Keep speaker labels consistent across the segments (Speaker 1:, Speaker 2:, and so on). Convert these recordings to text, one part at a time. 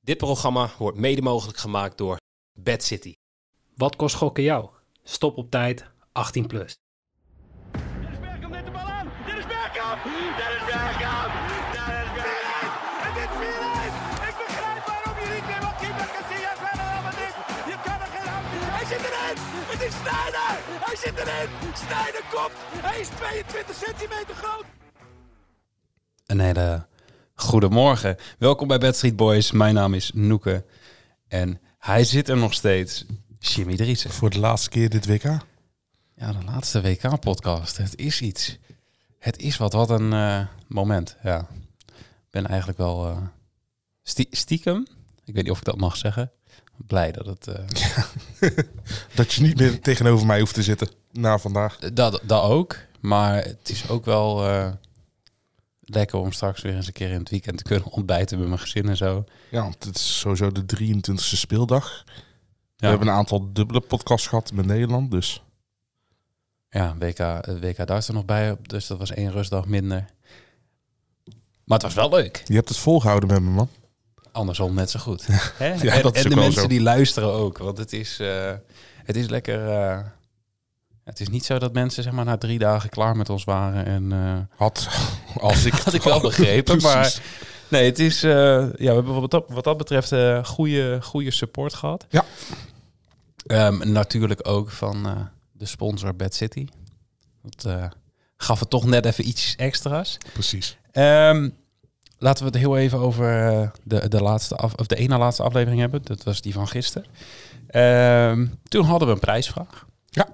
Speaker 1: Dit programma wordt mede mogelijk gemaakt door Bad City.
Speaker 2: Wat kost gokken jou? Stop op tijd 18 plus.
Speaker 3: Dennis Bergkamp neemt de bal aan. Dennis Bergkamp! Dennis Bergkamp! Dennis Bergkamp! Het is 4-1! Ik begrijp waarom je niet meer wat keeper Casillas verder helemaal niet. Je kan er geen hand in. Hij zit erin! Het is Sneijder! Hij zit erin! Sneijder komt! Hij is 22 centimeter groot!
Speaker 4: Een hele goedemorgen. Welkom bij Bad Street Boys. Mijn naam is Noeke. En hij zit er nog steeds, Jimmy Driessen.
Speaker 5: Voor de laatste keer dit WK.
Speaker 4: Ja, de laatste WK-podcast. Het is iets. Het is wat. Wat een eh, moment. Ja. Ik ben eigenlijk wel eh, stie- stiekem, ik weet niet of ik dat mag zeggen, blij dat het... eh,
Speaker 5: Dat je niet meer tegenover mij hoeft te zitten na vandaag.
Speaker 4: Dat, dat ook. Maar het is ook wel eh, lekker om straks weer eens een keer in het weekend te kunnen ontbijten met mijn gezin en zo.
Speaker 5: Ja, want het is sowieso de 23e speeldag. We
Speaker 4: Ja.
Speaker 5: hebben een aantal dubbele podcasts gehad met Nederland, dus
Speaker 4: Ja, WK, eh, WK daar is er nog bij, op, dus dat was één rustdag minder. Maar het was wel leuk.
Speaker 5: je hebt het volgehouden met me, man.
Speaker 4: Andersom net zo goed. Hè?
Speaker 5: Ja,
Speaker 4: en
Speaker 5: dat is
Speaker 4: en de
Speaker 5: ook wel
Speaker 4: mensen
Speaker 5: zo.
Speaker 4: die luisteren ook, want het is, eh, het is lekker... eh, het is niet zo dat mensen zeg maar, na drie dagen klaar met ons waren en... eh,
Speaker 5: Had, als ik,
Speaker 4: Had ik wel begrepen, maar-
Speaker 5: Precies.
Speaker 4: Nee, het is. eh, ja, we hebben wat dat, wat dat betreft eh goede, goede support gehad.
Speaker 5: Ja.
Speaker 4: Ehm, natuurlijk ook van eh, de sponsor Bad City. Dat eh, gaf het toch net even iets extra's.
Speaker 5: Precies.
Speaker 4: Ehm, laten we het heel even over eh, de, de, laatste af, of de ene laatste aflevering hebben. Dat was die van gisteren. Ehm, toen hadden we een prijsvraag.
Speaker 5: Ja.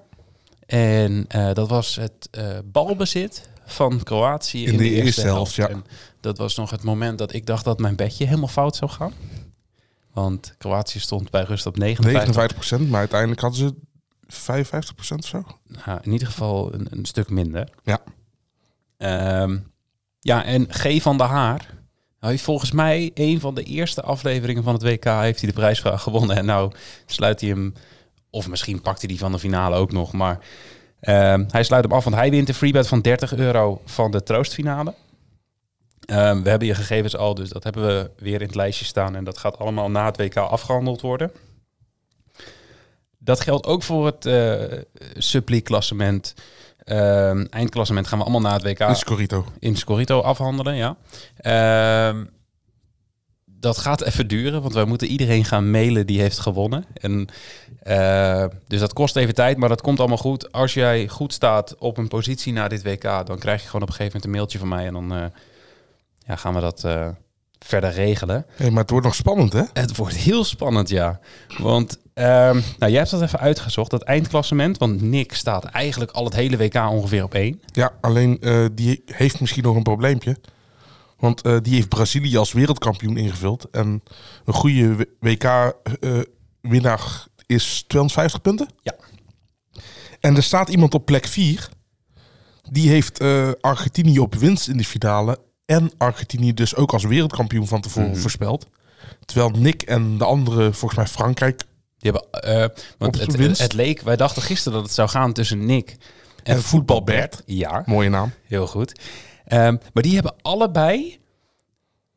Speaker 4: En eh, dat was het eh, balbezit van Kroatië in, de, eerste, helft.
Speaker 5: ja.
Speaker 4: En dat was nog het moment dat ik dacht dat mijn bedje helemaal fout zou gaan. Want Kroatië stond bij rust op 59.
Speaker 5: 59%, maar uiteindelijk hadden ze 55% of zo.
Speaker 4: Nou, in ieder geval een, een stuk minder.
Speaker 5: Ja.
Speaker 4: Ehm, ja, en G van de Haar. Hij heeft volgens mij een van de eerste afleveringen van het WK heeft hij de prijsvraag gewonnen. En nou sluit hij hem, of misschien pakt hij die van de finale ook nog. Maar ehm, hij sluit hem af, want hij wint de freebet van 30 euro van de troostfinale. Ehm, we hebben je gegevens al, dus dat hebben we weer in het lijstje staan. En dat gaat allemaal na het WK afgehandeld worden. Dat geldt ook voor het eh sub-league-klassement. Ehm, eindklassement gaan we allemaal na het WK
Speaker 5: Is Corito.
Speaker 4: in Scorito afhandelen, ja. Ehm, dat gaat even duren, want wij moeten iedereen gaan mailen die heeft gewonnen. En, eh, dus dat kost even tijd, maar dat komt allemaal goed. Als jij goed staat op een positie na dit WK, dan krijg je gewoon op een gegeven moment een mailtje van mij. En dan eh, ja, gaan we dat eh, verder regelen.
Speaker 5: Hey, maar het wordt nog spannend, hè?
Speaker 4: Het wordt heel spannend, ja. Want ehm, nou, jij hebt dat even uitgezocht, dat eindklassement. Want Nick staat eigenlijk al het hele WK ongeveer op één.
Speaker 5: Ja, alleen eh, die heeft misschien nog een probleempje. Want eh, die heeft Brazilië als wereldkampioen ingevuld. En een goede WK-winnaar eh, is 250 punten.
Speaker 4: Ja.
Speaker 5: En er staat iemand op plek 4. Die heeft eh, Argentinië op winst in de finale. En Argentinië dus ook als wereldkampioen van tevoren
Speaker 4: Mhm.
Speaker 5: voorspeld. Terwijl Nick en de andere, volgens mij Frankrijk
Speaker 4: Die hebben, eh, want het,
Speaker 5: Op
Speaker 4: het,
Speaker 5: winst.
Speaker 4: het leek, wij dachten gisteren dat het zou gaan tussen Nick en,
Speaker 5: En
Speaker 4: voetbalbert.
Speaker 5: voetbalbert.
Speaker 4: Ja,
Speaker 5: Mooie naam.
Speaker 4: heel goed. Ehm, maar die hebben allebei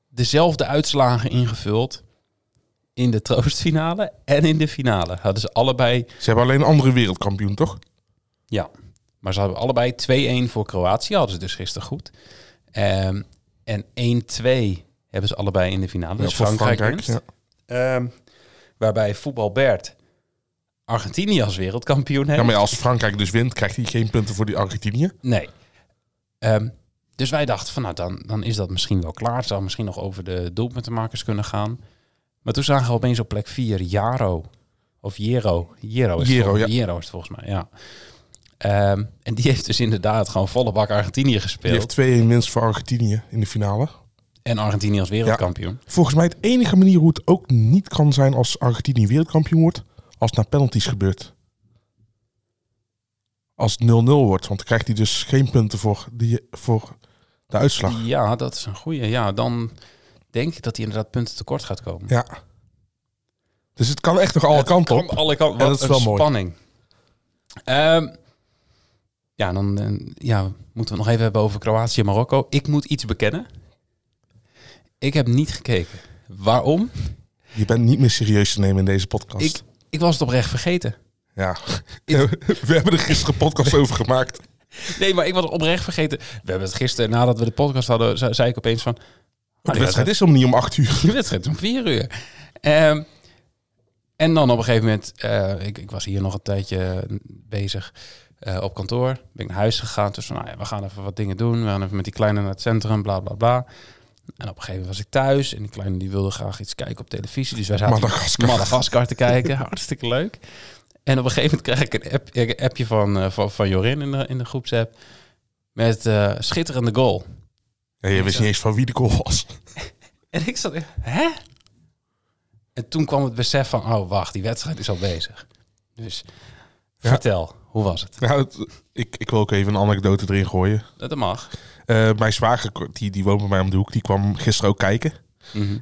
Speaker 4: dezelfde uitslagen ingevuld in de troostfinale en in de finale. Hadden ze allebei,
Speaker 5: Ze hebben alleen een andere wereldkampioen, toch?
Speaker 4: ja, maar ze hadden allebei 2-1 voor Kroatië, hadden ze dus gisteren goed. Ehm, en 1-2 hebben ze allebei in de finale. Dus
Speaker 5: Ja, voor
Speaker 4: Frankrijk, winst.
Speaker 5: ja.
Speaker 4: Ehm, waarbij voetbalbert Argentinië als wereldkampioen heeft.
Speaker 5: Ja, maar ja, als Frankrijk dus wint, krijgt hij geen punten voor die Argentinië.
Speaker 4: Nee. Ehm, dus wij dachten van nou, dan, dan is dat misschien wel klaar. Het zou misschien nog over de doelpuntenmakers kunnen gaan. Maar toen zagen we opeens op plek 4 Jaro. Of Jero. Jero is,
Speaker 5: Jero,
Speaker 4: vol-
Speaker 5: ja.
Speaker 4: Jero is het volgens mij, ja. Ehm, en die heeft dus inderdaad gewoon volle bak Argentinië
Speaker 5: Die
Speaker 4: gespeeld.
Speaker 5: heeft 2-1 winst voor Argentinië in de finale.
Speaker 4: En Argentinië als wereldkampioen.
Speaker 5: Volgens mij het enige manier hoe het ook niet kan zijn als Argentinië wereldkampioen wordt, als het na penalties gebeurt. Als het 0-0 wordt, want dan krijgt hij dus geen punten voor, die, voor de uitslag.
Speaker 4: Ja, dat is een goeie. Ja, dan denk ik dat hij inderdaad punten tekort gaat komen.
Speaker 5: Ja. Dus het kan echt nog alle
Speaker 4: Het
Speaker 5: kanten
Speaker 4: kan
Speaker 5: op.
Speaker 4: alle kanten. Wat
Speaker 5: Ja, dat is wel
Speaker 4: een
Speaker 5: mooi.
Speaker 4: spanning. Ehm, ja, dan eh, ja, moeten we het nog even hebben over Kroatië en Marokko. Ik moet iets bekennen. Ik heb niet gekeken. Waarom?
Speaker 5: Je bent niet meer serieus te nemen in deze podcast.
Speaker 4: Ik, ik was het oprecht vergeten.
Speaker 5: Ja. We hebben er gisteren een podcast over gemaakt.
Speaker 4: Ah, Nee, maar ik was oprecht vergeten. We hebben het gisteren, nadat we de podcast hadden, ze- zei ik opeens van... "Ah,
Speaker 5: De
Speaker 4: ja,
Speaker 5: wedstrijd is helemaal niet om acht uur.
Speaker 4: Die wedstrijd is om vier uur. Ehm, en dan op een gegeven moment, eh, ik, ik was hier nog een tijdje bezig eh, op kantoor. Ben ik naar huis gegaan. Dus van, nou ja, we gaan even wat dingen doen. We gaan even met die kleine naar het centrum, bla bla bla. En op een gegeven moment was ik thuis. En die kleine die wilde graag iets kijken op televisie. Dus wij zaten
Speaker 5: Madagaskar.
Speaker 4: Madagaskar te kijken. Hartstikke leuk. En op een gegeven moment krijg ik een, app, een appje van, eh, van, van Jorin in de, in de groepsapp. Met eh, schitterende goal.
Speaker 5: Ja, je wist niet eens van wie de goal was.
Speaker 4: En ik zat, echt, hè? En toen kwam het besef van, oh wacht, die wedstrijd is al bezig. Dus vertel, hoe was het?
Speaker 5: Nou, het- ik, ik wil ook even een anekdote erin gooien.
Speaker 4: Dat mag.
Speaker 5: Eh, mijn zwager, die, die woont bij mij om de hoek, die kwam gisteren ook kijken.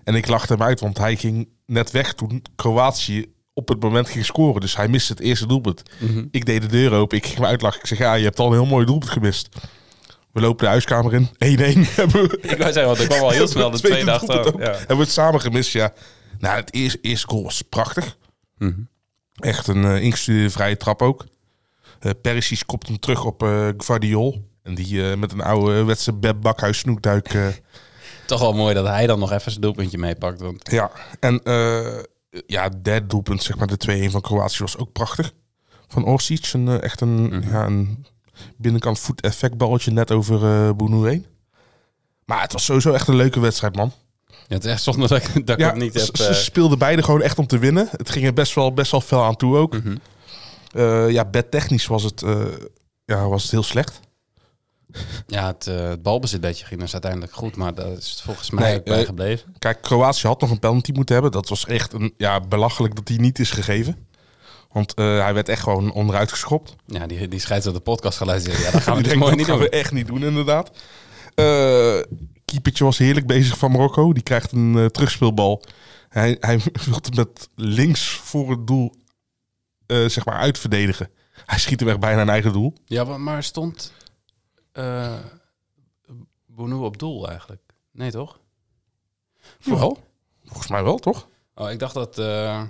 Speaker 5: En ik lachte hem uit, want hij ging net weg toen Kroatië op het moment ging scoren. Dus hij miste het eerste doelpunt. Ik deed de deur open, ik ging hem uitlachen. Ik zeg, ja, je hebt al een heel mooi doelpunt gemist. We lopen de huiskamer in, 1-1. Hebben we-
Speaker 4: Ik wou zeggen, want er kwam al heel snel de
Speaker 5: tweede
Speaker 4: tweede
Speaker 5: doelpunt
Speaker 4: achterhoofd.
Speaker 5: ook.
Speaker 4: Ja.
Speaker 5: Hebben we het samen gemist, ja. Nou, het eerste, eerste goal was prachtig.
Speaker 4: Mhm.
Speaker 5: Echt een eh, ingestudeerde vrije trap ook. Eh Perisic kopt hem terug op eh Guardiol. En die eh, met een oude wedse Beb Bakhuis snoekduik... eh,
Speaker 4: Toch wel mooi dat hij dan nog even zijn doelpuntje meepakt. Want
Speaker 5: Ja, en eh ja, het derde doelpunt, zeg maar, de 2-1 van Kroatië was ook prachtig. Van Orsic, een, eh, echt een, ja, een binnenkant voet effectballetje net over eh Bounu heen. Maar het was sowieso echt een leuke wedstrijd, man.
Speaker 4: ja, het is echt zonde dat ik, dat ik
Speaker 5: Ja,
Speaker 4: het niet
Speaker 5: ze-
Speaker 4: heb...
Speaker 5: ze
Speaker 4: eh,
Speaker 5: speelden beide gewoon echt om te winnen. Het ging er best wel, best wel fel aan toe ook.
Speaker 4: Mhm.
Speaker 5: Eh, ja, bedtechnisch was het, eh, ja, was het heel slecht.
Speaker 4: ja, het, eh, het balbezitbedje ging dus uiteindelijk goed, maar dat is volgens mij
Speaker 5: Nee,
Speaker 4: ook bij
Speaker 5: eh,
Speaker 4: gebleven.
Speaker 5: Kijk, Kroatië had nog een penalty moeten hebben. Dat was echt een, ja, belachelijk dat die niet is gegeven. Want eh, hij werd echt gewoon onderuit geschopt.
Speaker 4: Ja, die, die scheids op de podcast geluisterd. Ja, dat gaan we
Speaker 5: Die
Speaker 4: dus
Speaker 5: denkt,
Speaker 4: mooi
Speaker 5: dat
Speaker 4: niet
Speaker 5: gaan
Speaker 4: doen.
Speaker 5: we echt niet doen, inderdaad. Eh keepertje was heerlijk bezig van Marokko. Die krijgt een eh, terugspeelbal. Hij, hij wil het met links voor het doel eh, zeg maar uitverdedigen. Hij schiet hem echt bijna een eigen doel.
Speaker 4: Ja, wa- maar stond eh Bounu op doel eigenlijk? Nee, toch?
Speaker 5: Jawel. Volgens mij wel, toch?
Speaker 4: Oh, ik dacht dat... eh,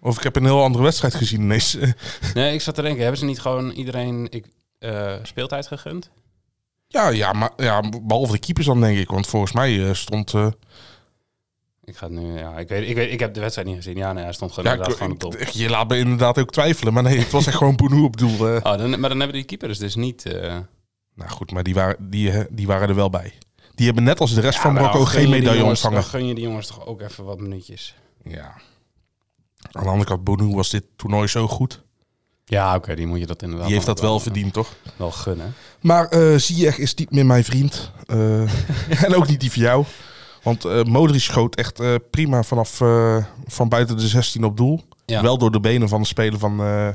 Speaker 5: Of ik heb een heel andere wedstrijd gezien ineens.
Speaker 4: Nee, ik zat te denken, hebben ze niet gewoon iedereen ik, eh, speeltijd gegund?
Speaker 5: ja, ja, maar, ja, behalve de keepers dan, denk ik. Want volgens mij eh, stond... eh,
Speaker 4: Ik ga het nu... Ja, ik, weet, ik, weet, ik heb de wedstrijd niet gezien. Ja, nee, hij stond gewoon
Speaker 5: ja,
Speaker 4: inderdaad
Speaker 5: ik-
Speaker 4: gewoon op doel.
Speaker 5: ik- je laat me inderdaad ook twijfelen. Maar nee, het was echt gewoon Boenu op doel. eh.
Speaker 4: Oh, dan, maar dan hebben die keepers dus niet... eh,
Speaker 5: Nou goed, maar die waren, die, eh, die waren er wel bij. Die hebben net als de rest van
Speaker 4: ja, maar
Speaker 5: Marokko
Speaker 4: dan gun
Speaker 5: nou,
Speaker 4: je
Speaker 5: geen
Speaker 4: die
Speaker 5: medaille
Speaker 4: jongens-
Speaker 5: ontvangen.
Speaker 4: Dan gun je die jongens toch ook even wat minuutjes.
Speaker 5: Ja. Aan de andere kant, Bonou was dit toernooi zo goed.
Speaker 4: Ja, oké, die moet je dat inderdaad...
Speaker 5: Die heeft
Speaker 4: dan
Speaker 5: dat wel
Speaker 4: ook
Speaker 5: verdiend, toch?
Speaker 4: Wel gunnen.
Speaker 5: Maar eh Ziyech is niet meer mijn vriend. Eh, en ook niet die van jou. Want eh Modric schoot echt eh, prima vanaf eh, van buiten de 16 op doel.
Speaker 4: Ja.
Speaker 5: Wel door de benen van de speler van, eh,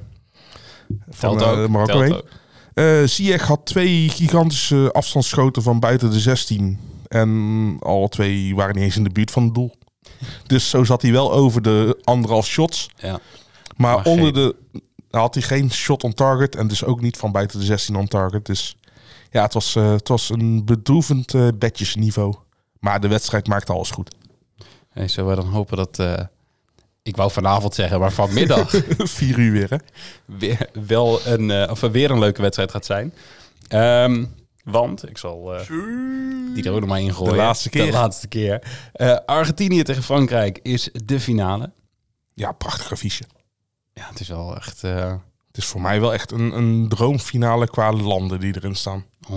Speaker 5: van
Speaker 4: Telt
Speaker 5: eh,
Speaker 4: ook,
Speaker 5: Marokko
Speaker 4: telt
Speaker 5: heen.
Speaker 4: ook.
Speaker 5: Eh Ziyech had twee gigantische afstandsschoten van buiten de 16. En alle twee waren niet eens in de buurt van het doel. Dus zo zat hij wel over de anderhalf shots.
Speaker 4: Ja.
Speaker 5: Maar,
Speaker 4: Maar
Speaker 5: onder
Speaker 4: geen-
Speaker 5: de had hij geen shot on target. En dus ook niet van buiten de 16 on target. Dus ja, het was, eh, het was een bedroevend eh bedjesniveau. Maar de wedstrijd maakte alles goed.
Speaker 4: Hey, zullen we dan hopen dat... eh, ik wou vanavond zeggen, maar vanmiddag...
Speaker 5: Vier uur weer, hè?
Speaker 4: weer, wel een, eh, of er weer een leuke wedstrijd gaat zijn. Ehm, want, ik zal eh, die er ook nog maar ingooien.
Speaker 5: De laatste keer.
Speaker 4: De laatste keer. Eh, Argentinië tegen Frankrijk is de finale.
Speaker 5: Ja, prachtig affiche.
Speaker 4: Ja, het is wel echt eh
Speaker 5: Het is voor mij wel echt een, een droomfinale qua landen die erin staan.
Speaker 4: 100%.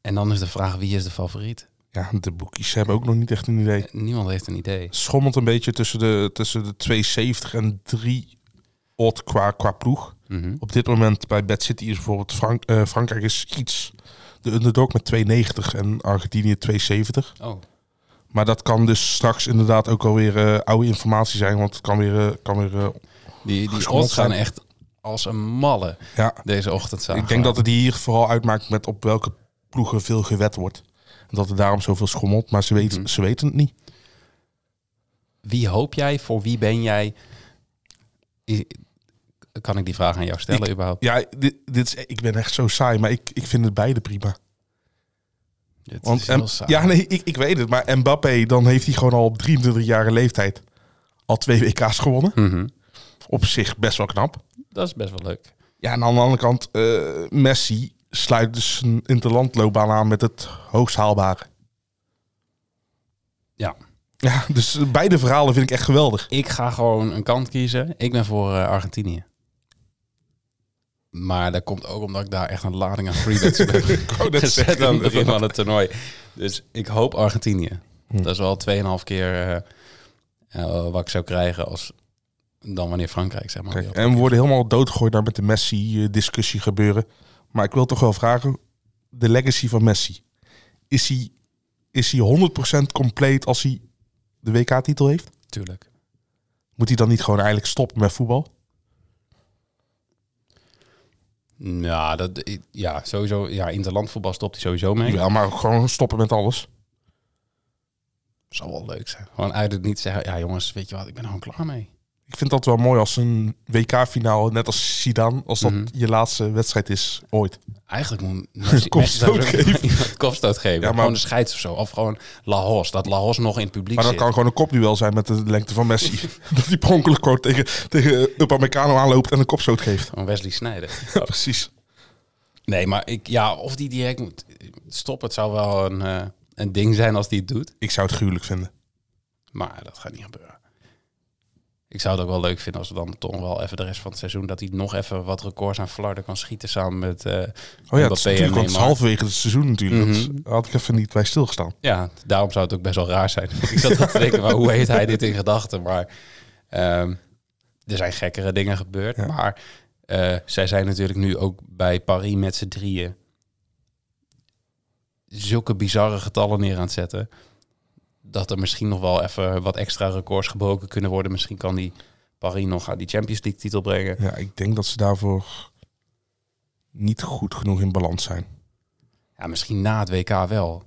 Speaker 4: En dan is de vraag, wie is de favoriet?
Speaker 5: Ja, de boekjes hebben ook nog niet echt een idee.
Speaker 4: Niemand heeft een idee.
Speaker 5: schommelt een beetje tussen de, tussen de 270 en 3 odd qua, qua ploeg.
Speaker 4: Mhm.
Speaker 5: Op dit moment bij Bad City is bijvoorbeeld Frank, eh, Frankrijk is iets de underdog met 290 en Argentinië 270.
Speaker 4: Oh,
Speaker 5: Maar dat kan dus straks inderdaad ook alweer eh oude informatie zijn, want het kan weer... eh, kan weer eh,
Speaker 4: die, die
Speaker 5: Geschommeld
Speaker 4: odds gaan
Speaker 5: zijn.
Speaker 4: echt als een malle
Speaker 5: ja,
Speaker 4: deze ochtend zagen.
Speaker 5: ik denk dat het hier vooral uitmaakt met op welke ploegen veel gewet wordt. En dat er daarom zoveel schommelt, maar ze weten, ze weten het niet.
Speaker 4: Wie hoop jij? Voor wie ben jij? I- Kan ik die vraag aan jou stellen
Speaker 5: Ik-
Speaker 4: überhaupt?
Speaker 5: Ja, dit, dit is, ik ben echt zo saai, maar ik, ik vind het beide prima.
Speaker 4: Het
Speaker 5: Want
Speaker 4: is
Speaker 5: Em-
Speaker 4: heel saai.
Speaker 5: ja, nee, ik, ik weet het. Maar Mbappé, dan heeft hij gewoon al op 23-jarige leeftijd al twee WK's gewonnen.
Speaker 4: Mhm.
Speaker 5: Op zich best wel knap.
Speaker 4: Dat is best wel leuk.
Speaker 5: Ja, en aan de andere kant, eh, Messi sluit dus een interlandloopbaan aan met het hoogst haalbare.
Speaker 4: Ja.
Speaker 5: Ja, dus beide verhalen vind ik echt geweldig.
Speaker 4: Ik ga gewoon een kant kiezen. Ik ben voor eh, Argentinië. Maar dat komt ook omdat ik daar echt een lading aan freebets heb
Speaker 5: wou net
Speaker 4: gezet
Speaker 5: zeggen,
Speaker 4: aan het begin
Speaker 5: inderdaad.
Speaker 4: van het toernooi. Dus ik hoop Argentinië.
Speaker 5: Hm.
Speaker 4: Dat is wel 2,5 keer eh, eh, wat ik zou krijgen als dan wanneer Frankrijk, zeg maar.
Speaker 5: Kijk,
Speaker 4: weer op-
Speaker 5: en we worden helemaal doodgegooid daar met de Messi-discussie gebeuren. Maar ik wil toch wel vragen, de legacy van Messi. Is hij, is hij 100% compleet als hij de WK-titel heeft?
Speaker 4: Tuurlijk.
Speaker 5: Moet hij dan niet gewoon eigenlijk stoppen met voetbal?
Speaker 4: Ja, dat, ik- ja, sowieso. Ja, interlandvoetbal stopt hij sowieso mee.
Speaker 5: Ja, maar ook gewoon stoppen met alles.
Speaker 4: Zou wel leuk zijn. Gewoon uit het niet zeggen, ja jongens, weet je wat, ik ben er gewoon klaar mee.
Speaker 5: Ik vind dat wel mooi als een WK-finale, net als Zidane, als dat
Speaker 4: Mhm.
Speaker 5: je laatste wedstrijd is ooit.
Speaker 4: Eigenlijk moet Messi-
Speaker 5: Kopstoot
Speaker 4: Messi zou
Speaker 5: geven.
Speaker 4: iemand een kopstoot geven.
Speaker 5: Ja, maar-
Speaker 4: Gewoon de scheids of zo. Of gewoon Lahos. Dat Lahos nog in het publiek
Speaker 5: Maar dat
Speaker 4: zit.
Speaker 5: kan gewoon een kopduel zijn met de lengte van Messi. dat hij per ongeluk gewoon tegen, tegen Upamecano aanloopt en een kopstoot geeft.
Speaker 4: Gewoon Wesley Sneijder.
Speaker 5: Precies.
Speaker 4: nee, maar ik, ja, of die direct moet stoppen. Het zou wel een, eh, een ding zijn als die het doet.
Speaker 5: Ik zou het gruwelijk vinden. Oh
Speaker 4: Maar dat gaat niet gebeuren. Ik zou het ook wel leuk vinden als we dan toch wel even de rest van het seizoen... dat hij nog even wat records aan Flarden kan schieten samen met... eh,
Speaker 5: Oh ja,
Speaker 4: Mbappé
Speaker 5: dat is,
Speaker 4: en
Speaker 5: natuurlijk, want het is
Speaker 4: Neymar.
Speaker 5: halverwege het seizoen natuurlijk. Dat
Speaker 4: Mhm.
Speaker 5: had ik even niet bij stilgestaan.
Speaker 4: Ja, daarom zou het ook best wel raar zijn. ik zat wel te denken, maar hoe heeft hij dit in gedachten? Maar ehm, er zijn gekkere dingen gebeurd.
Speaker 5: Ja.
Speaker 4: Maar eh, zij zijn natuurlijk nu ook bij Paris met z'n drieën zulke bizarre getallen neer aan het zetten. Dat er misschien nog wel even wat extra records gebroken kunnen worden. Misschien kan die Paris nog aan die Champions League titel brengen.
Speaker 5: Ja, ik denk dat ze daarvoor niet goed genoeg in balans zijn.
Speaker 4: Ja, misschien na het WK wel.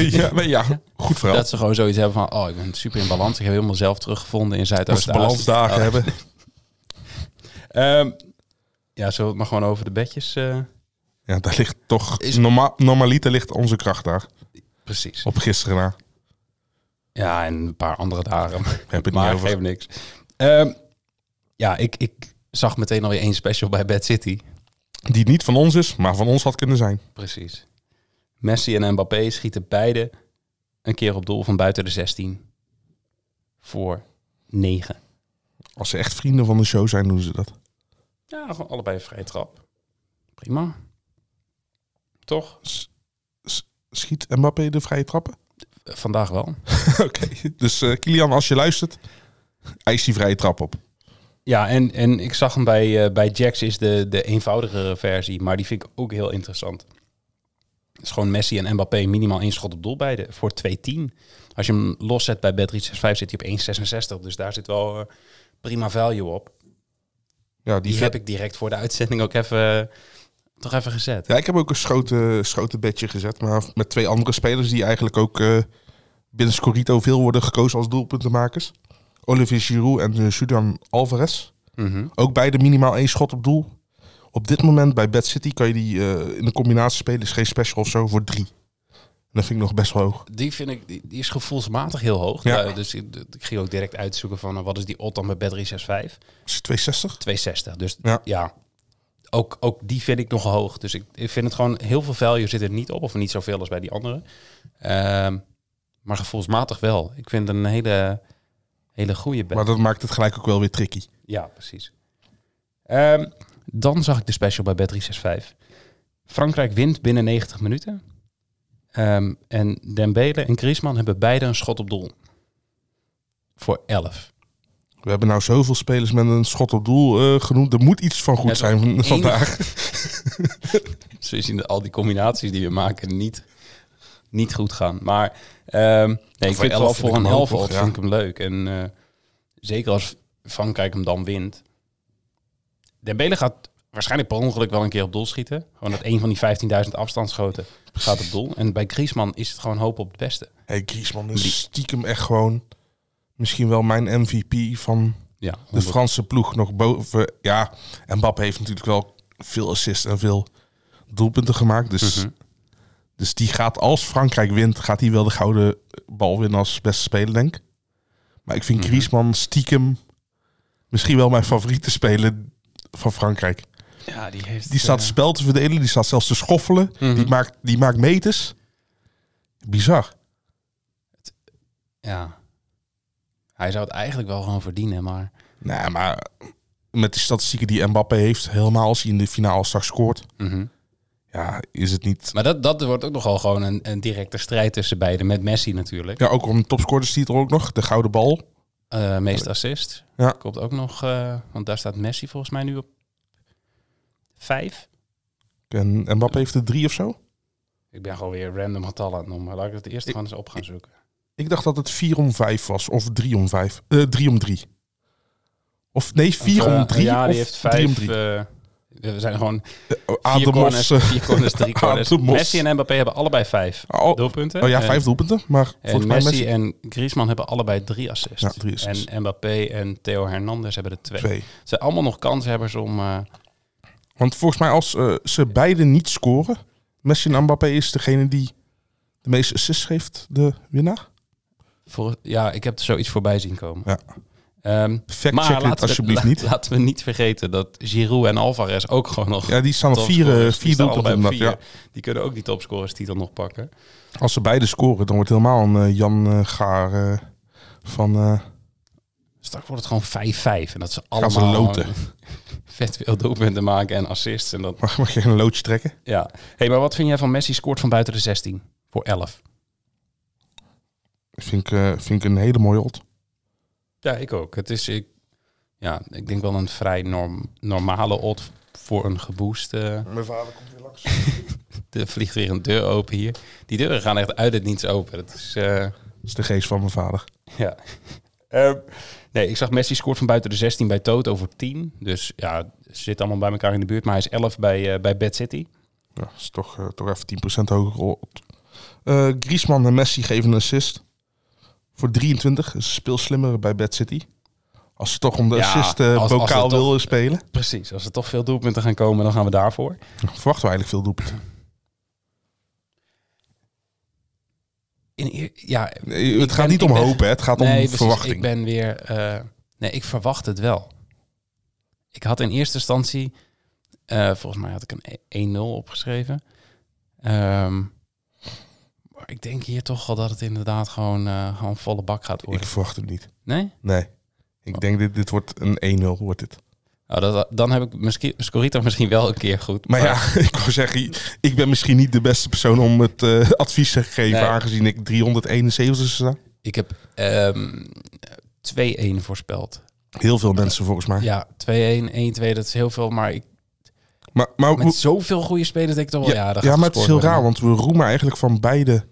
Speaker 5: ja, nee, ja, goed verhaal.
Speaker 4: Dat ze gewoon zoiets hebben van, oh, ik ben super in balans. Ik heb helemaal zelf teruggevonden in
Speaker 5: Als ze
Speaker 4: Zuidoost-Azië.
Speaker 5: balansdagen
Speaker 4: Oh.
Speaker 5: hebben.
Speaker 4: Ehm, ja, zullen we het maar gewoon over de bedjes? eh,
Speaker 5: Ja, daar ligt toch...
Speaker 4: Is-
Speaker 5: Norma normaliter ligt onze kracht daar.
Speaker 4: Precies.
Speaker 5: Op gisteren na.
Speaker 4: Ja, en een paar andere dagen.
Speaker 5: Heb het
Speaker 4: maar
Speaker 5: niet over.
Speaker 4: geeft niks. Ehm, ja, ik, ik zag meteen alweer één special bij Bad City.
Speaker 5: Die niet van ons is, maar van ons had kunnen zijn.
Speaker 4: Precies. Messi en Mbappé schieten beide een keer op doel van buiten de 16. Voor 9.
Speaker 5: Als ze echt vrienden van de show zijn, doen ze dat.
Speaker 4: Ja, gewoon allebei een vrije trap. Prima. Toch?
Speaker 5: Schiet Mbappé de vrije trappen?
Speaker 4: Eh, Vandaag wel.
Speaker 5: Oké, dus eh, Kilian, als je luistert, eis die vrije trap op.
Speaker 4: Ja, en, en ik zag hem bij, eh, bij Jax is de, de eenvoudigere versie, maar die vind ik ook heel interessant. Het is gewoon Messi en Mbappé minimaal één schot op doel beide voor 2-10. Als je hem loszet bij Bet365 zit hij op 1,66, dus daar zit wel eh, prima value op.
Speaker 5: Ja,
Speaker 4: Die heb ik direct voor de uitzending ook even, eh, toch even gezet.
Speaker 5: Ja, ik heb ook een schoten, schoten bedje gezet, maar met twee andere spelers die eigenlijk ook eh, binnen Scorito veel worden gekozen als doelpuntenmakers. Olivier Giroud en eh, Julian Alvarez.
Speaker 4: Mhm.
Speaker 5: Ook beide minimaal één schot op doel. Op dit moment bij Bad City kan je die eh, in een combinatie spelen, is geen special of zo, voor drie. En dat vind ik nog best wel hoog.
Speaker 4: Die vind ik, die die is gevoelsmatig heel hoog.
Speaker 5: Ja.
Speaker 4: Ja, dus ik, ik ging ook direct uitzoeken van eh, wat is die odd dan bij Bet365.
Speaker 5: Is het 260?
Speaker 4: 260. Dus
Speaker 5: Ja.
Speaker 4: ja, ook, ook die vind ik nog hoog. Dus ik, ik vind het gewoon heel veel value zit er niet op. Of niet zoveel als bij die andere. Ehm, maar gevoelsmatig wel. Ik vind het een hele, hele goede bet.
Speaker 5: Maar dat maakt het gelijk ook wel weer tricky.
Speaker 4: Ja, precies. Ehm, dan zag ik de special bij Bet365. Frankrijk wint binnen 90 minuten. Ehm, en Dembele en Griezmann hebben beide een schot op doel. Voor 11.
Speaker 5: We hebben nou zoveel spelers met een schot op doel eh, genoemd. Er moet iets van goed
Speaker 4: Ja,
Speaker 5: zijn van-
Speaker 4: één-
Speaker 5: vandaag.
Speaker 4: Dus we zien al die combinaties die we maken niet, niet goed gaan. Maar ehm, nee, ik
Speaker 5: Voor
Speaker 4: vind het wel
Speaker 5: elf
Speaker 4: voor
Speaker 5: vind
Speaker 4: een
Speaker 5: ik hem ook
Speaker 4: helft
Speaker 5: nog,
Speaker 4: odd
Speaker 5: ja.
Speaker 4: vind ik hem leuk. En eh, zeker als Frankrijk hem dan wint. Dembele gaat waarschijnlijk per ongeluk wel een keer op doel schieten. Gewoon dat een van die 15.000 afstandsschoten gaat op doel. En bij Griezmann is het gewoon hoop op het beste.
Speaker 5: Hey, Griezmann
Speaker 4: Die-
Speaker 5: is stiekem echt gewoon misschien wel mijn MVP van
Speaker 4: Ja,
Speaker 5: de Franse ploeg nog boven. Ja, en Mbappé heeft natuurlijk wel veel assists en veel doelpunten gemaakt. Dus
Speaker 4: Mhm.
Speaker 5: Dus die gaat als Frankrijk wint, gaat hij wel de gouden bal winnen als beste speler, denk ik. Maar ik vind
Speaker 4: Mhm.
Speaker 5: Griezmann stiekem misschien wel mijn favoriete speler van Frankrijk.
Speaker 4: Ja, die heeft... eh,
Speaker 5: Die staat het spel te verdelen, die staat zelfs te schoffelen.
Speaker 4: Mhm.
Speaker 5: die, maakt, die maakt meters. Bizar.
Speaker 4: Ja. Hij zou het eigenlijk wel gewoon verdienen, maar...
Speaker 5: Nou, maar met die statistieken die Mbappé heeft, helemaal als hij in de finale straks scoort, ja, is het niet.
Speaker 4: Maar dat, dat wordt ook nogal gewoon een, een directe strijd tussen beiden. Met Messi natuurlijk.
Speaker 5: Ja, ook om de topscorerstitel ook nog, de gouden bal.
Speaker 4: Eh meest assist.
Speaker 5: Ja.
Speaker 4: Komt ook nog... eh, want daar staat Messi volgens mij nu op vijf.
Speaker 5: En Mbappé heeft er drie of zo.
Speaker 4: Ik ben gewoon weer random getallen aan het noemen. Laat ik het eerst gewoon eens op gaan zoeken.
Speaker 5: Ik dacht dat het vier om vijf was, of drie om vijf. Eh, drie om drie. Of nee, vier
Speaker 4: Eh,
Speaker 5: om drie.
Speaker 4: Ja, die
Speaker 5: of
Speaker 4: heeft
Speaker 5: Drie om
Speaker 4: vijf...
Speaker 5: drie.
Speaker 4: eh, we zijn gewoon
Speaker 5: Eh,
Speaker 4: vier
Speaker 5: Ademos.
Speaker 4: corners,
Speaker 5: eh,
Speaker 4: vier corners, drie corners.
Speaker 5: Ademos.
Speaker 4: Messi en Mbappé hebben allebei vijf
Speaker 5: Oh,
Speaker 4: doelpunten.
Speaker 5: oh ja,
Speaker 4: En-
Speaker 5: vijf doelpunten. Maar volgens
Speaker 4: En
Speaker 5: mij
Speaker 4: Messi,
Speaker 5: Messi
Speaker 4: en Griezmann hebben allebei drie assists.
Speaker 5: Ja, drie assists.
Speaker 4: En Mbappé en Theo Hernandez hebben er twee.
Speaker 5: twee.
Speaker 4: Het zijn allemaal nog kanshebbers om... eh,
Speaker 5: Want volgens mij als eh, ze beide niet scoren, Messi en Mbappé is degene die de meeste assists geeft, de winnaar.
Speaker 4: voor, ja, ik heb er zoiets voorbij zien komen.
Speaker 5: Ja.
Speaker 4: Ehm,
Speaker 5: Fact
Speaker 4: maar
Speaker 5: check
Speaker 4: laten
Speaker 5: het
Speaker 4: we,
Speaker 5: alsjeblieft
Speaker 4: la-
Speaker 5: niet.
Speaker 4: Laten we niet vergeten dat Giroud en Alvarez ook gewoon nog...
Speaker 5: Ja, die staan op vier,
Speaker 4: topscorers.
Speaker 5: eh,
Speaker 4: Die
Speaker 5: vier
Speaker 4: staan
Speaker 5: doelpunten.
Speaker 4: allebei op
Speaker 5: inderdaad,
Speaker 4: vier. Die kunnen ook die topscorers titel nog pakken.
Speaker 5: ja. Als ze beide scoren, dan wordt helemaal een eh, Jan eh, Gaar eh, van... eh,
Speaker 4: Straks wordt het gewoon 5-5. En dat ze allemaal...
Speaker 5: ze loten.
Speaker 4: gewoon Vet veel doelpunten maken en assists. En dat,
Speaker 5: mag, mag je een loodje trekken?
Speaker 4: ja. hey, maar wat vind jij van Messi scoort van buiten de 16 voor 11?
Speaker 5: Vind ik, eh, vind ik een hele mooie odd.
Speaker 4: Ja, ik ook. Het is, ik, ja, ik denk wel een vrij norm, normale odd voor een geboost. eh.
Speaker 5: Mijn vader komt weer langs.
Speaker 4: er vliegt weer een deur open hier. Die deuren gaan echt uit het niets open. Dat is, eh,
Speaker 5: Dat is de geest van mijn vader.
Speaker 4: ja. Ehm, nee, ik zag Messi scoort van buiten de 16 bij Toto voor 10. Dus ja, ze zitten allemaal bij elkaar in de buurt. Maar hij is 11 bij, eh, bij Bad City.
Speaker 5: Ja, dat is toch, eh, toch even 10% hoger odd. Eh, Griezmann en Messi geven een assist. Voor 23 is speel slimmer bij Bad City. Als ze toch om de
Speaker 4: Ja,
Speaker 5: assist eh,
Speaker 4: als- als ze
Speaker 5: bokaal
Speaker 4: toch-
Speaker 5: willen spelen.
Speaker 4: Precies, als er toch veel doelpunten gaan komen, dan gaan we daarvoor.
Speaker 5: Verwachten we eigenlijk veel doelpunten.
Speaker 4: In, eer- ja,
Speaker 5: Nee,
Speaker 4: Ik
Speaker 5: het gaat
Speaker 4: ben-
Speaker 5: niet
Speaker 4: ik
Speaker 5: om
Speaker 4: ben-
Speaker 5: hopen, hè. het gaat om
Speaker 4: nee, precies,
Speaker 5: verwachting.
Speaker 4: ik ben weer... eh, nee, ik verwacht het wel. Ik had in eerste instantie... eh, volgens mij had ik een 1-0 opgeschreven. Ehm, maar ik denk hier toch al dat het inderdaad gewoon, eh, gewoon volle bak gaat
Speaker 5: Ik
Speaker 4: worden.
Speaker 5: verwacht hem niet.
Speaker 4: Nee?
Speaker 5: Nee. Ik denk dit, dit wordt een 1-0 wordt dit.
Speaker 4: Nou, dat, dan heb ik misschien, Scorito misschien wel een keer goed.
Speaker 5: Maar ja, ik wou zeggen, ik ben misschien niet de beste persoon om het eh, advies te geven,
Speaker 4: Nee.
Speaker 5: aangezien ik 371 sta.
Speaker 4: Ik heb ehm 2-1 voorspeld.
Speaker 5: Heel veel mensen volgens mij.
Speaker 4: Ja, 2-1, 1-2, dat is heel veel. Maar ik,
Speaker 5: Maar, maar,
Speaker 4: met
Speaker 5: hoe-
Speaker 4: zoveel goede spelers denk ik toch wel... Ja,
Speaker 5: ja,
Speaker 4: daar gaat
Speaker 5: maar het is heel
Speaker 4: gescoord
Speaker 5: raar,
Speaker 4: worden.
Speaker 5: want we roemen eigenlijk van beide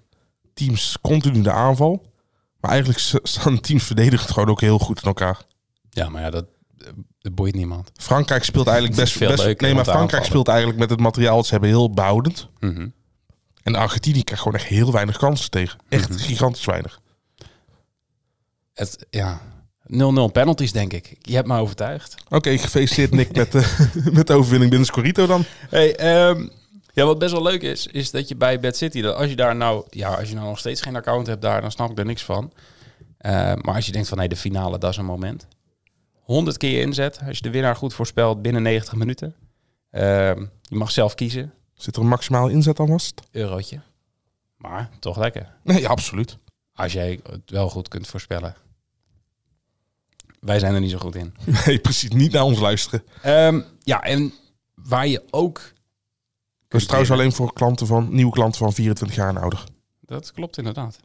Speaker 5: teams continu de aanval. Maar eigenlijk s- staan teams verdedigend gewoon ook heel goed in elkaar.
Speaker 4: Ja, maar ja, dat, eh, dat boeit niemand.
Speaker 5: Frankrijk speelt eigenlijk
Speaker 4: Het is
Speaker 5: best...
Speaker 4: veel
Speaker 5: best
Speaker 4: leuker
Speaker 5: nee,
Speaker 4: om
Speaker 5: maar
Speaker 4: te
Speaker 5: Frankrijk
Speaker 4: aanvallen.
Speaker 5: speelt eigenlijk met het materiaal dat ze hebben heel behoudend.
Speaker 4: Mhm.
Speaker 5: En Argentinië krijgt gewoon echt heel weinig kansen tegen. Echt
Speaker 4: Mhm.
Speaker 5: gigantisch weinig.
Speaker 4: Het, ja, 0-0 penalties, denk ik. Je hebt me overtuigd.
Speaker 5: Oké, gefeliciteerd Nick met, de, met de overwinning binnen Scorito dan.
Speaker 4: Hey, ehm, ja, wat best wel leuk is, is dat je bij Bad City, dat als je daar nou, ja, als je nou nog steeds geen account hebt daar, dan snap ik er niks van. Eh, maar als je denkt van, nee, de finale, dat is een moment. 100 keer je inzet, als je de winnaar goed voorspelt binnen 90 minuten. Ehm, je mag zelf kiezen,
Speaker 5: Zit er een maximale inzet aan vast?
Speaker 4: eurotje. Maar toch lekker,
Speaker 5: Nee, ja, absoluut.
Speaker 4: als jij het wel goed kunt voorspellen. Wij zijn er niet zo goed in.
Speaker 5: Nee, precies. Niet naar ons luisteren.
Speaker 4: Ehm, ja, en waar je ook...
Speaker 5: Dat is trouwens alleen voor klanten van, nieuwe klanten van 24 jaar en ouder.
Speaker 4: Dat klopt inderdaad.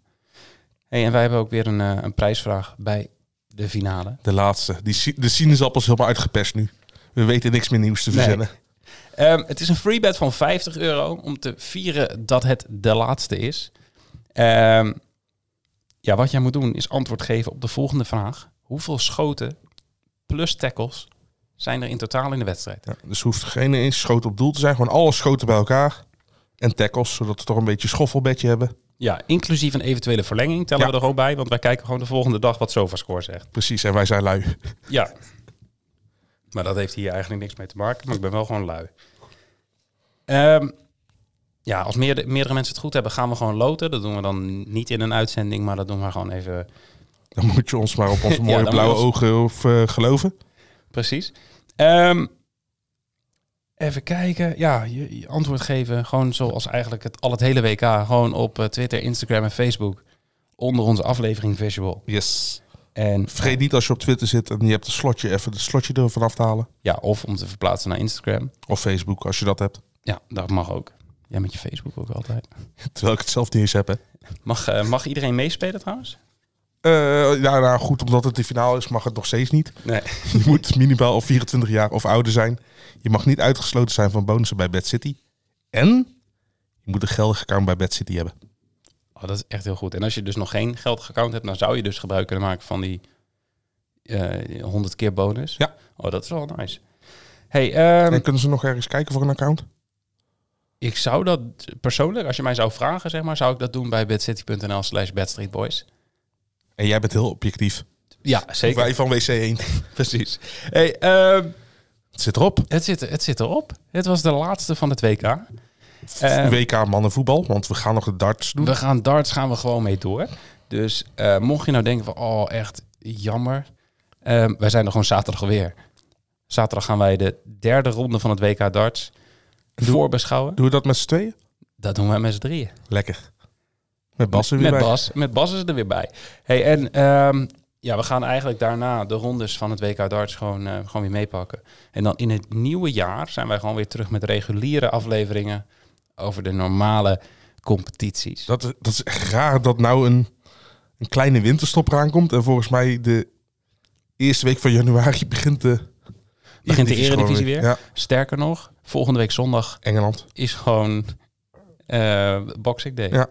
Speaker 4: Hey, en wij hebben ook weer een, eh, een prijsvraag bij de finale.
Speaker 5: De laatste. Die, si- de sinaasappel is helemaal uitgepest nu. We weten niks meer nieuws te
Speaker 4: Nee.
Speaker 5: verzinnen.
Speaker 4: Ehm, het is een free bet van 50 euro om te vieren dat het de laatste is. Ehm, ja, wat jij moet doen is antwoord geven op de volgende vraag. Hoeveel schoten plus tackles zijn er in totaal in de wedstrijd?
Speaker 5: Ja, dus er hoeft geen eens schoten op doel te zijn. Gewoon alle schoten bij elkaar. En tackles, zodat we toch een beetje een schoffelbedje hebben.
Speaker 4: Ja, inclusief een eventuele verlenging tellen
Speaker 5: Ja.
Speaker 4: we er gewoon bij. Want wij kijken gewoon de volgende dag wat SofaScore zegt.
Speaker 5: Precies, en wij zijn lui.
Speaker 4: Ja. Maar dat heeft hier eigenlijk niks mee te maken. Maar ik ben wel gewoon lui. Ehm, ja, als meerdere, meerdere mensen het goed hebben, gaan we gewoon loten. Dat doen we dan niet in een uitzending, maar dat doen we gewoon even
Speaker 5: Dan moet je ons maar op onze
Speaker 4: Ja,
Speaker 5: mooie
Speaker 4: dan
Speaker 5: blauwe
Speaker 4: moet
Speaker 5: ogen of, eh, geloven.
Speaker 4: Precies. Ehm, even kijken. Ja, je, je antwoord geven. Gewoon zoals eigenlijk het, al het hele WK. Gewoon op eh, Twitter, Instagram en Facebook. Onder onze aflevering visual.
Speaker 5: Yes.
Speaker 4: En
Speaker 5: Vergeet niet als je op Twitter zit en je hebt een slotje, even het slotje er vanaf te halen.
Speaker 4: ja, of om te verplaatsen naar Instagram.
Speaker 5: Of Facebook, als je dat hebt.
Speaker 4: Ja, dat mag ook. Jij met je Facebook ook altijd.
Speaker 5: Terwijl ik het zelf niet eens heb, hè.
Speaker 4: Mag, eh, mag iedereen meespelen trouwens?
Speaker 5: Eh, ja, nou goed, omdat het de finale is, mag het nog steeds niet.
Speaker 4: Nee.
Speaker 5: Je moet minimaal of 24 jaar of ouder zijn. Je mag niet uitgesloten zijn van bonussen bij Bad City. En je moet een geldig account bij Bad City hebben.
Speaker 4: Oh, dat is echt heel goed. En als je dus nog geen geldig account hebt, dan zou je dus gebruik kunnen maken van die eh 100 keer bonus.
Speaker 5: Ja.
Speaker 4: Oh, dat is wel nice. Hey, ehm,
Speaker 5: en kunnen ze nog ergens kijken voor een account?
Speaker 4: Ik zou dat persoonlijk, als je mij zou vragen, zeg maar, zou ik dat doen bij bedcity.nl slash bedstreetboys.
Speaker 5: En jij bent heel objectief.
Speaker 4: Ja, zeker.
Speaker 5: Wij van WC 1.
Speaker 4: Precies. Hey, ehm,
Speaker 5: Het zit erop.
Speaker 4: het, zit, het zit erop. Het was de laatste van het WK. Ehm,
Speaker 5: WK mannenvoetbal, want we gaan nog de darts doen.
Speaker 4: we gaan darts gaan we gewoon mee door. Dus eh, mocht je nou denken van, oh echt jammer. Ehm, wij zijn er gewoon zaterdag alweer. Zaterdag gaan wij de derde ronde van het WK darts voorbeschouwen.
Speaker 5: Doen we dat met z'n tweeën?
Speaker 4: Dat doen wij met z'n drieën.
Speaker 5: Lekker. Met Bas er weer
Speaker 4: met
Speaker 5: bij.
Speaker 4: Bas, met Bas is er weer bij. Hey, en ehm, ja, we gaan eigenlijk daarna de rondes van het WK darts gewoon, eh, gewoon weer meepakken. En dan in het nieuwe jaar zijn wij gewoon weer terug met reguliere afleveringen over de normale competities.
Speaker 5: Dat, is- dat is echt raar dat nou een, een kleine winterstop eraan komt. En volgens mij de eerste week van januari begint de...
Speaker 4: Begint de
Speaker 5: Eredivisie gewoon
Speaker 4: Eredivisie weer?
Speaker 5: Ja,
Speaker 4: Sterker nog, volgende week zondag
Speaker 5: Engeland.
Speaker 4: is gewoon eh Boxing Day.
Speaker 5: Ja.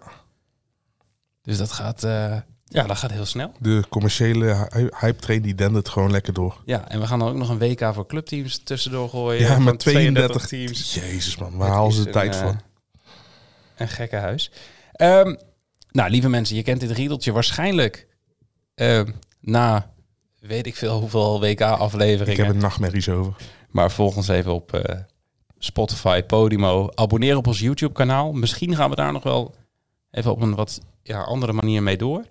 Speaker 4: Dus dat gaat, eh, ja, dat gaat heel snel.
Speaker 5: De commerciële hy- hype train die dendert gewoon lekker door.
Speaker 4: Ja, en we gaan dan ook nog een WK voor clubteams tussendoor gooien.
Speaker 5: Ja,
Speaker 4: van
Speaker 5: met 32
Speaker 4: teams.
Speaker 5: Jezus man,
Speaker 4: Het
Speaker 5: waar halen ze
Speaker 4: is
Speaker 5: de tijd
Speaker 4: een,
Speaker 5: van?
Speaker 4: eh, Een gekke huis. Ehm, nou, lieve mensen, je kent dit riedeltje waarschijnlijk ehm, na weet ik veel hoeveel
Speaker 5: Ik heb
Speaker 4: WK-afleveringen.
Speaker 5: er nachtmerries over.
Speaker 4: Maar volg ons even op eh, Spotify, Podimo. Abonneer op ons YouTube-kanaal. Misschien gaan we daar nog wel even op een wat ja, andere manier mee door.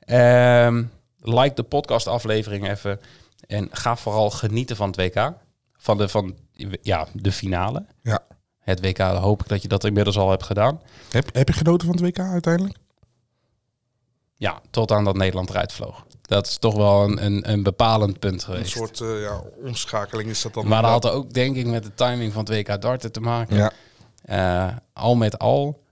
Speaker 4: Ehm, like de podcast-aflevering even. En ga vooral genieten van het WK. Van de, van, ja, de finale.
Speaker 5: Ja.
Speaker 4: Het WK, hoop ik dat je dat inmiddels al hebt gedaan.
Speaker 5: Heb, heb je genoten van het WK uiteindelijk?
Speaker 4: Ja, tot aan dat Nederland eruit vloog. Dat is toch wel een, een, een bepalend punt geweest.
Speaker 5: Een soort eh, ja, omschakeling is dat dan.
Speaker 4: Maar dat had ook denk ik met de timing van het WK darten te maken.
Speaker 5: Ja.
Speaker 4: Eh, al met al,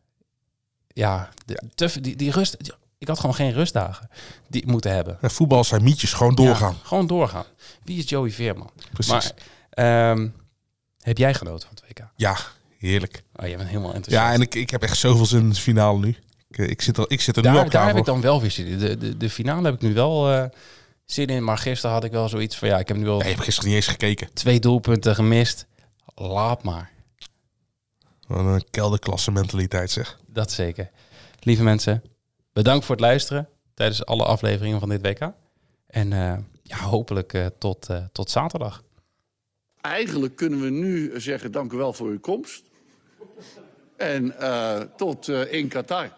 Speaker 4: ja, de- te- die, die rust. die- ik had gewoon geen rustdagen die ik moeten hebben.
Speaker 5: Ja, eh, voetbal zijn mietjes, gewoon doorgaan.
Speaker 4: Ja, gewoon doorgaan. Wie is Joey Veerman?
Speaker 5: Precies.
Speaker 4: Maar ehm, heb jij genoten van het WK?
Speaker 5: Ja, heerlijk.
Speaker 4: Oh, jij bent helemaal enthousiast.
Speaker 5: Ja, en ik, ik heb echt zoveel zin in de finale nu. Ik, eh, ik zit er, ik zit er nu al
Speaker 4: daar,
Speaker 5: klaar
Speaker 4: daar heb
Speaker 5: voor.
Speaker 4: ik dan wel weer zin in. De, de, de finale heb ik nu wel eh, zin in. Maar gisteren had ik wel zoiets van, ja, ik heb nu al
Speaker 5: Nee, ik heb gisteren niet eens gekeken.
Speaker 4: twee doelpunten gemist. Laat maar.
Speaker 5: Wat een kelderklasse mentaliteit zeg.
Speaker 4: Dat zeker. Lieve mensen, bedankt voor het luisteren tijdens alle afleveringen van dit WK. En eh, ja, hopelijk eh, tot, eh, tot zaterdag.
Speaker 6: Eigenlijk kunnen we nu zeggen: dank u wel voor uw komst. En eh, tot eh, in Qatar.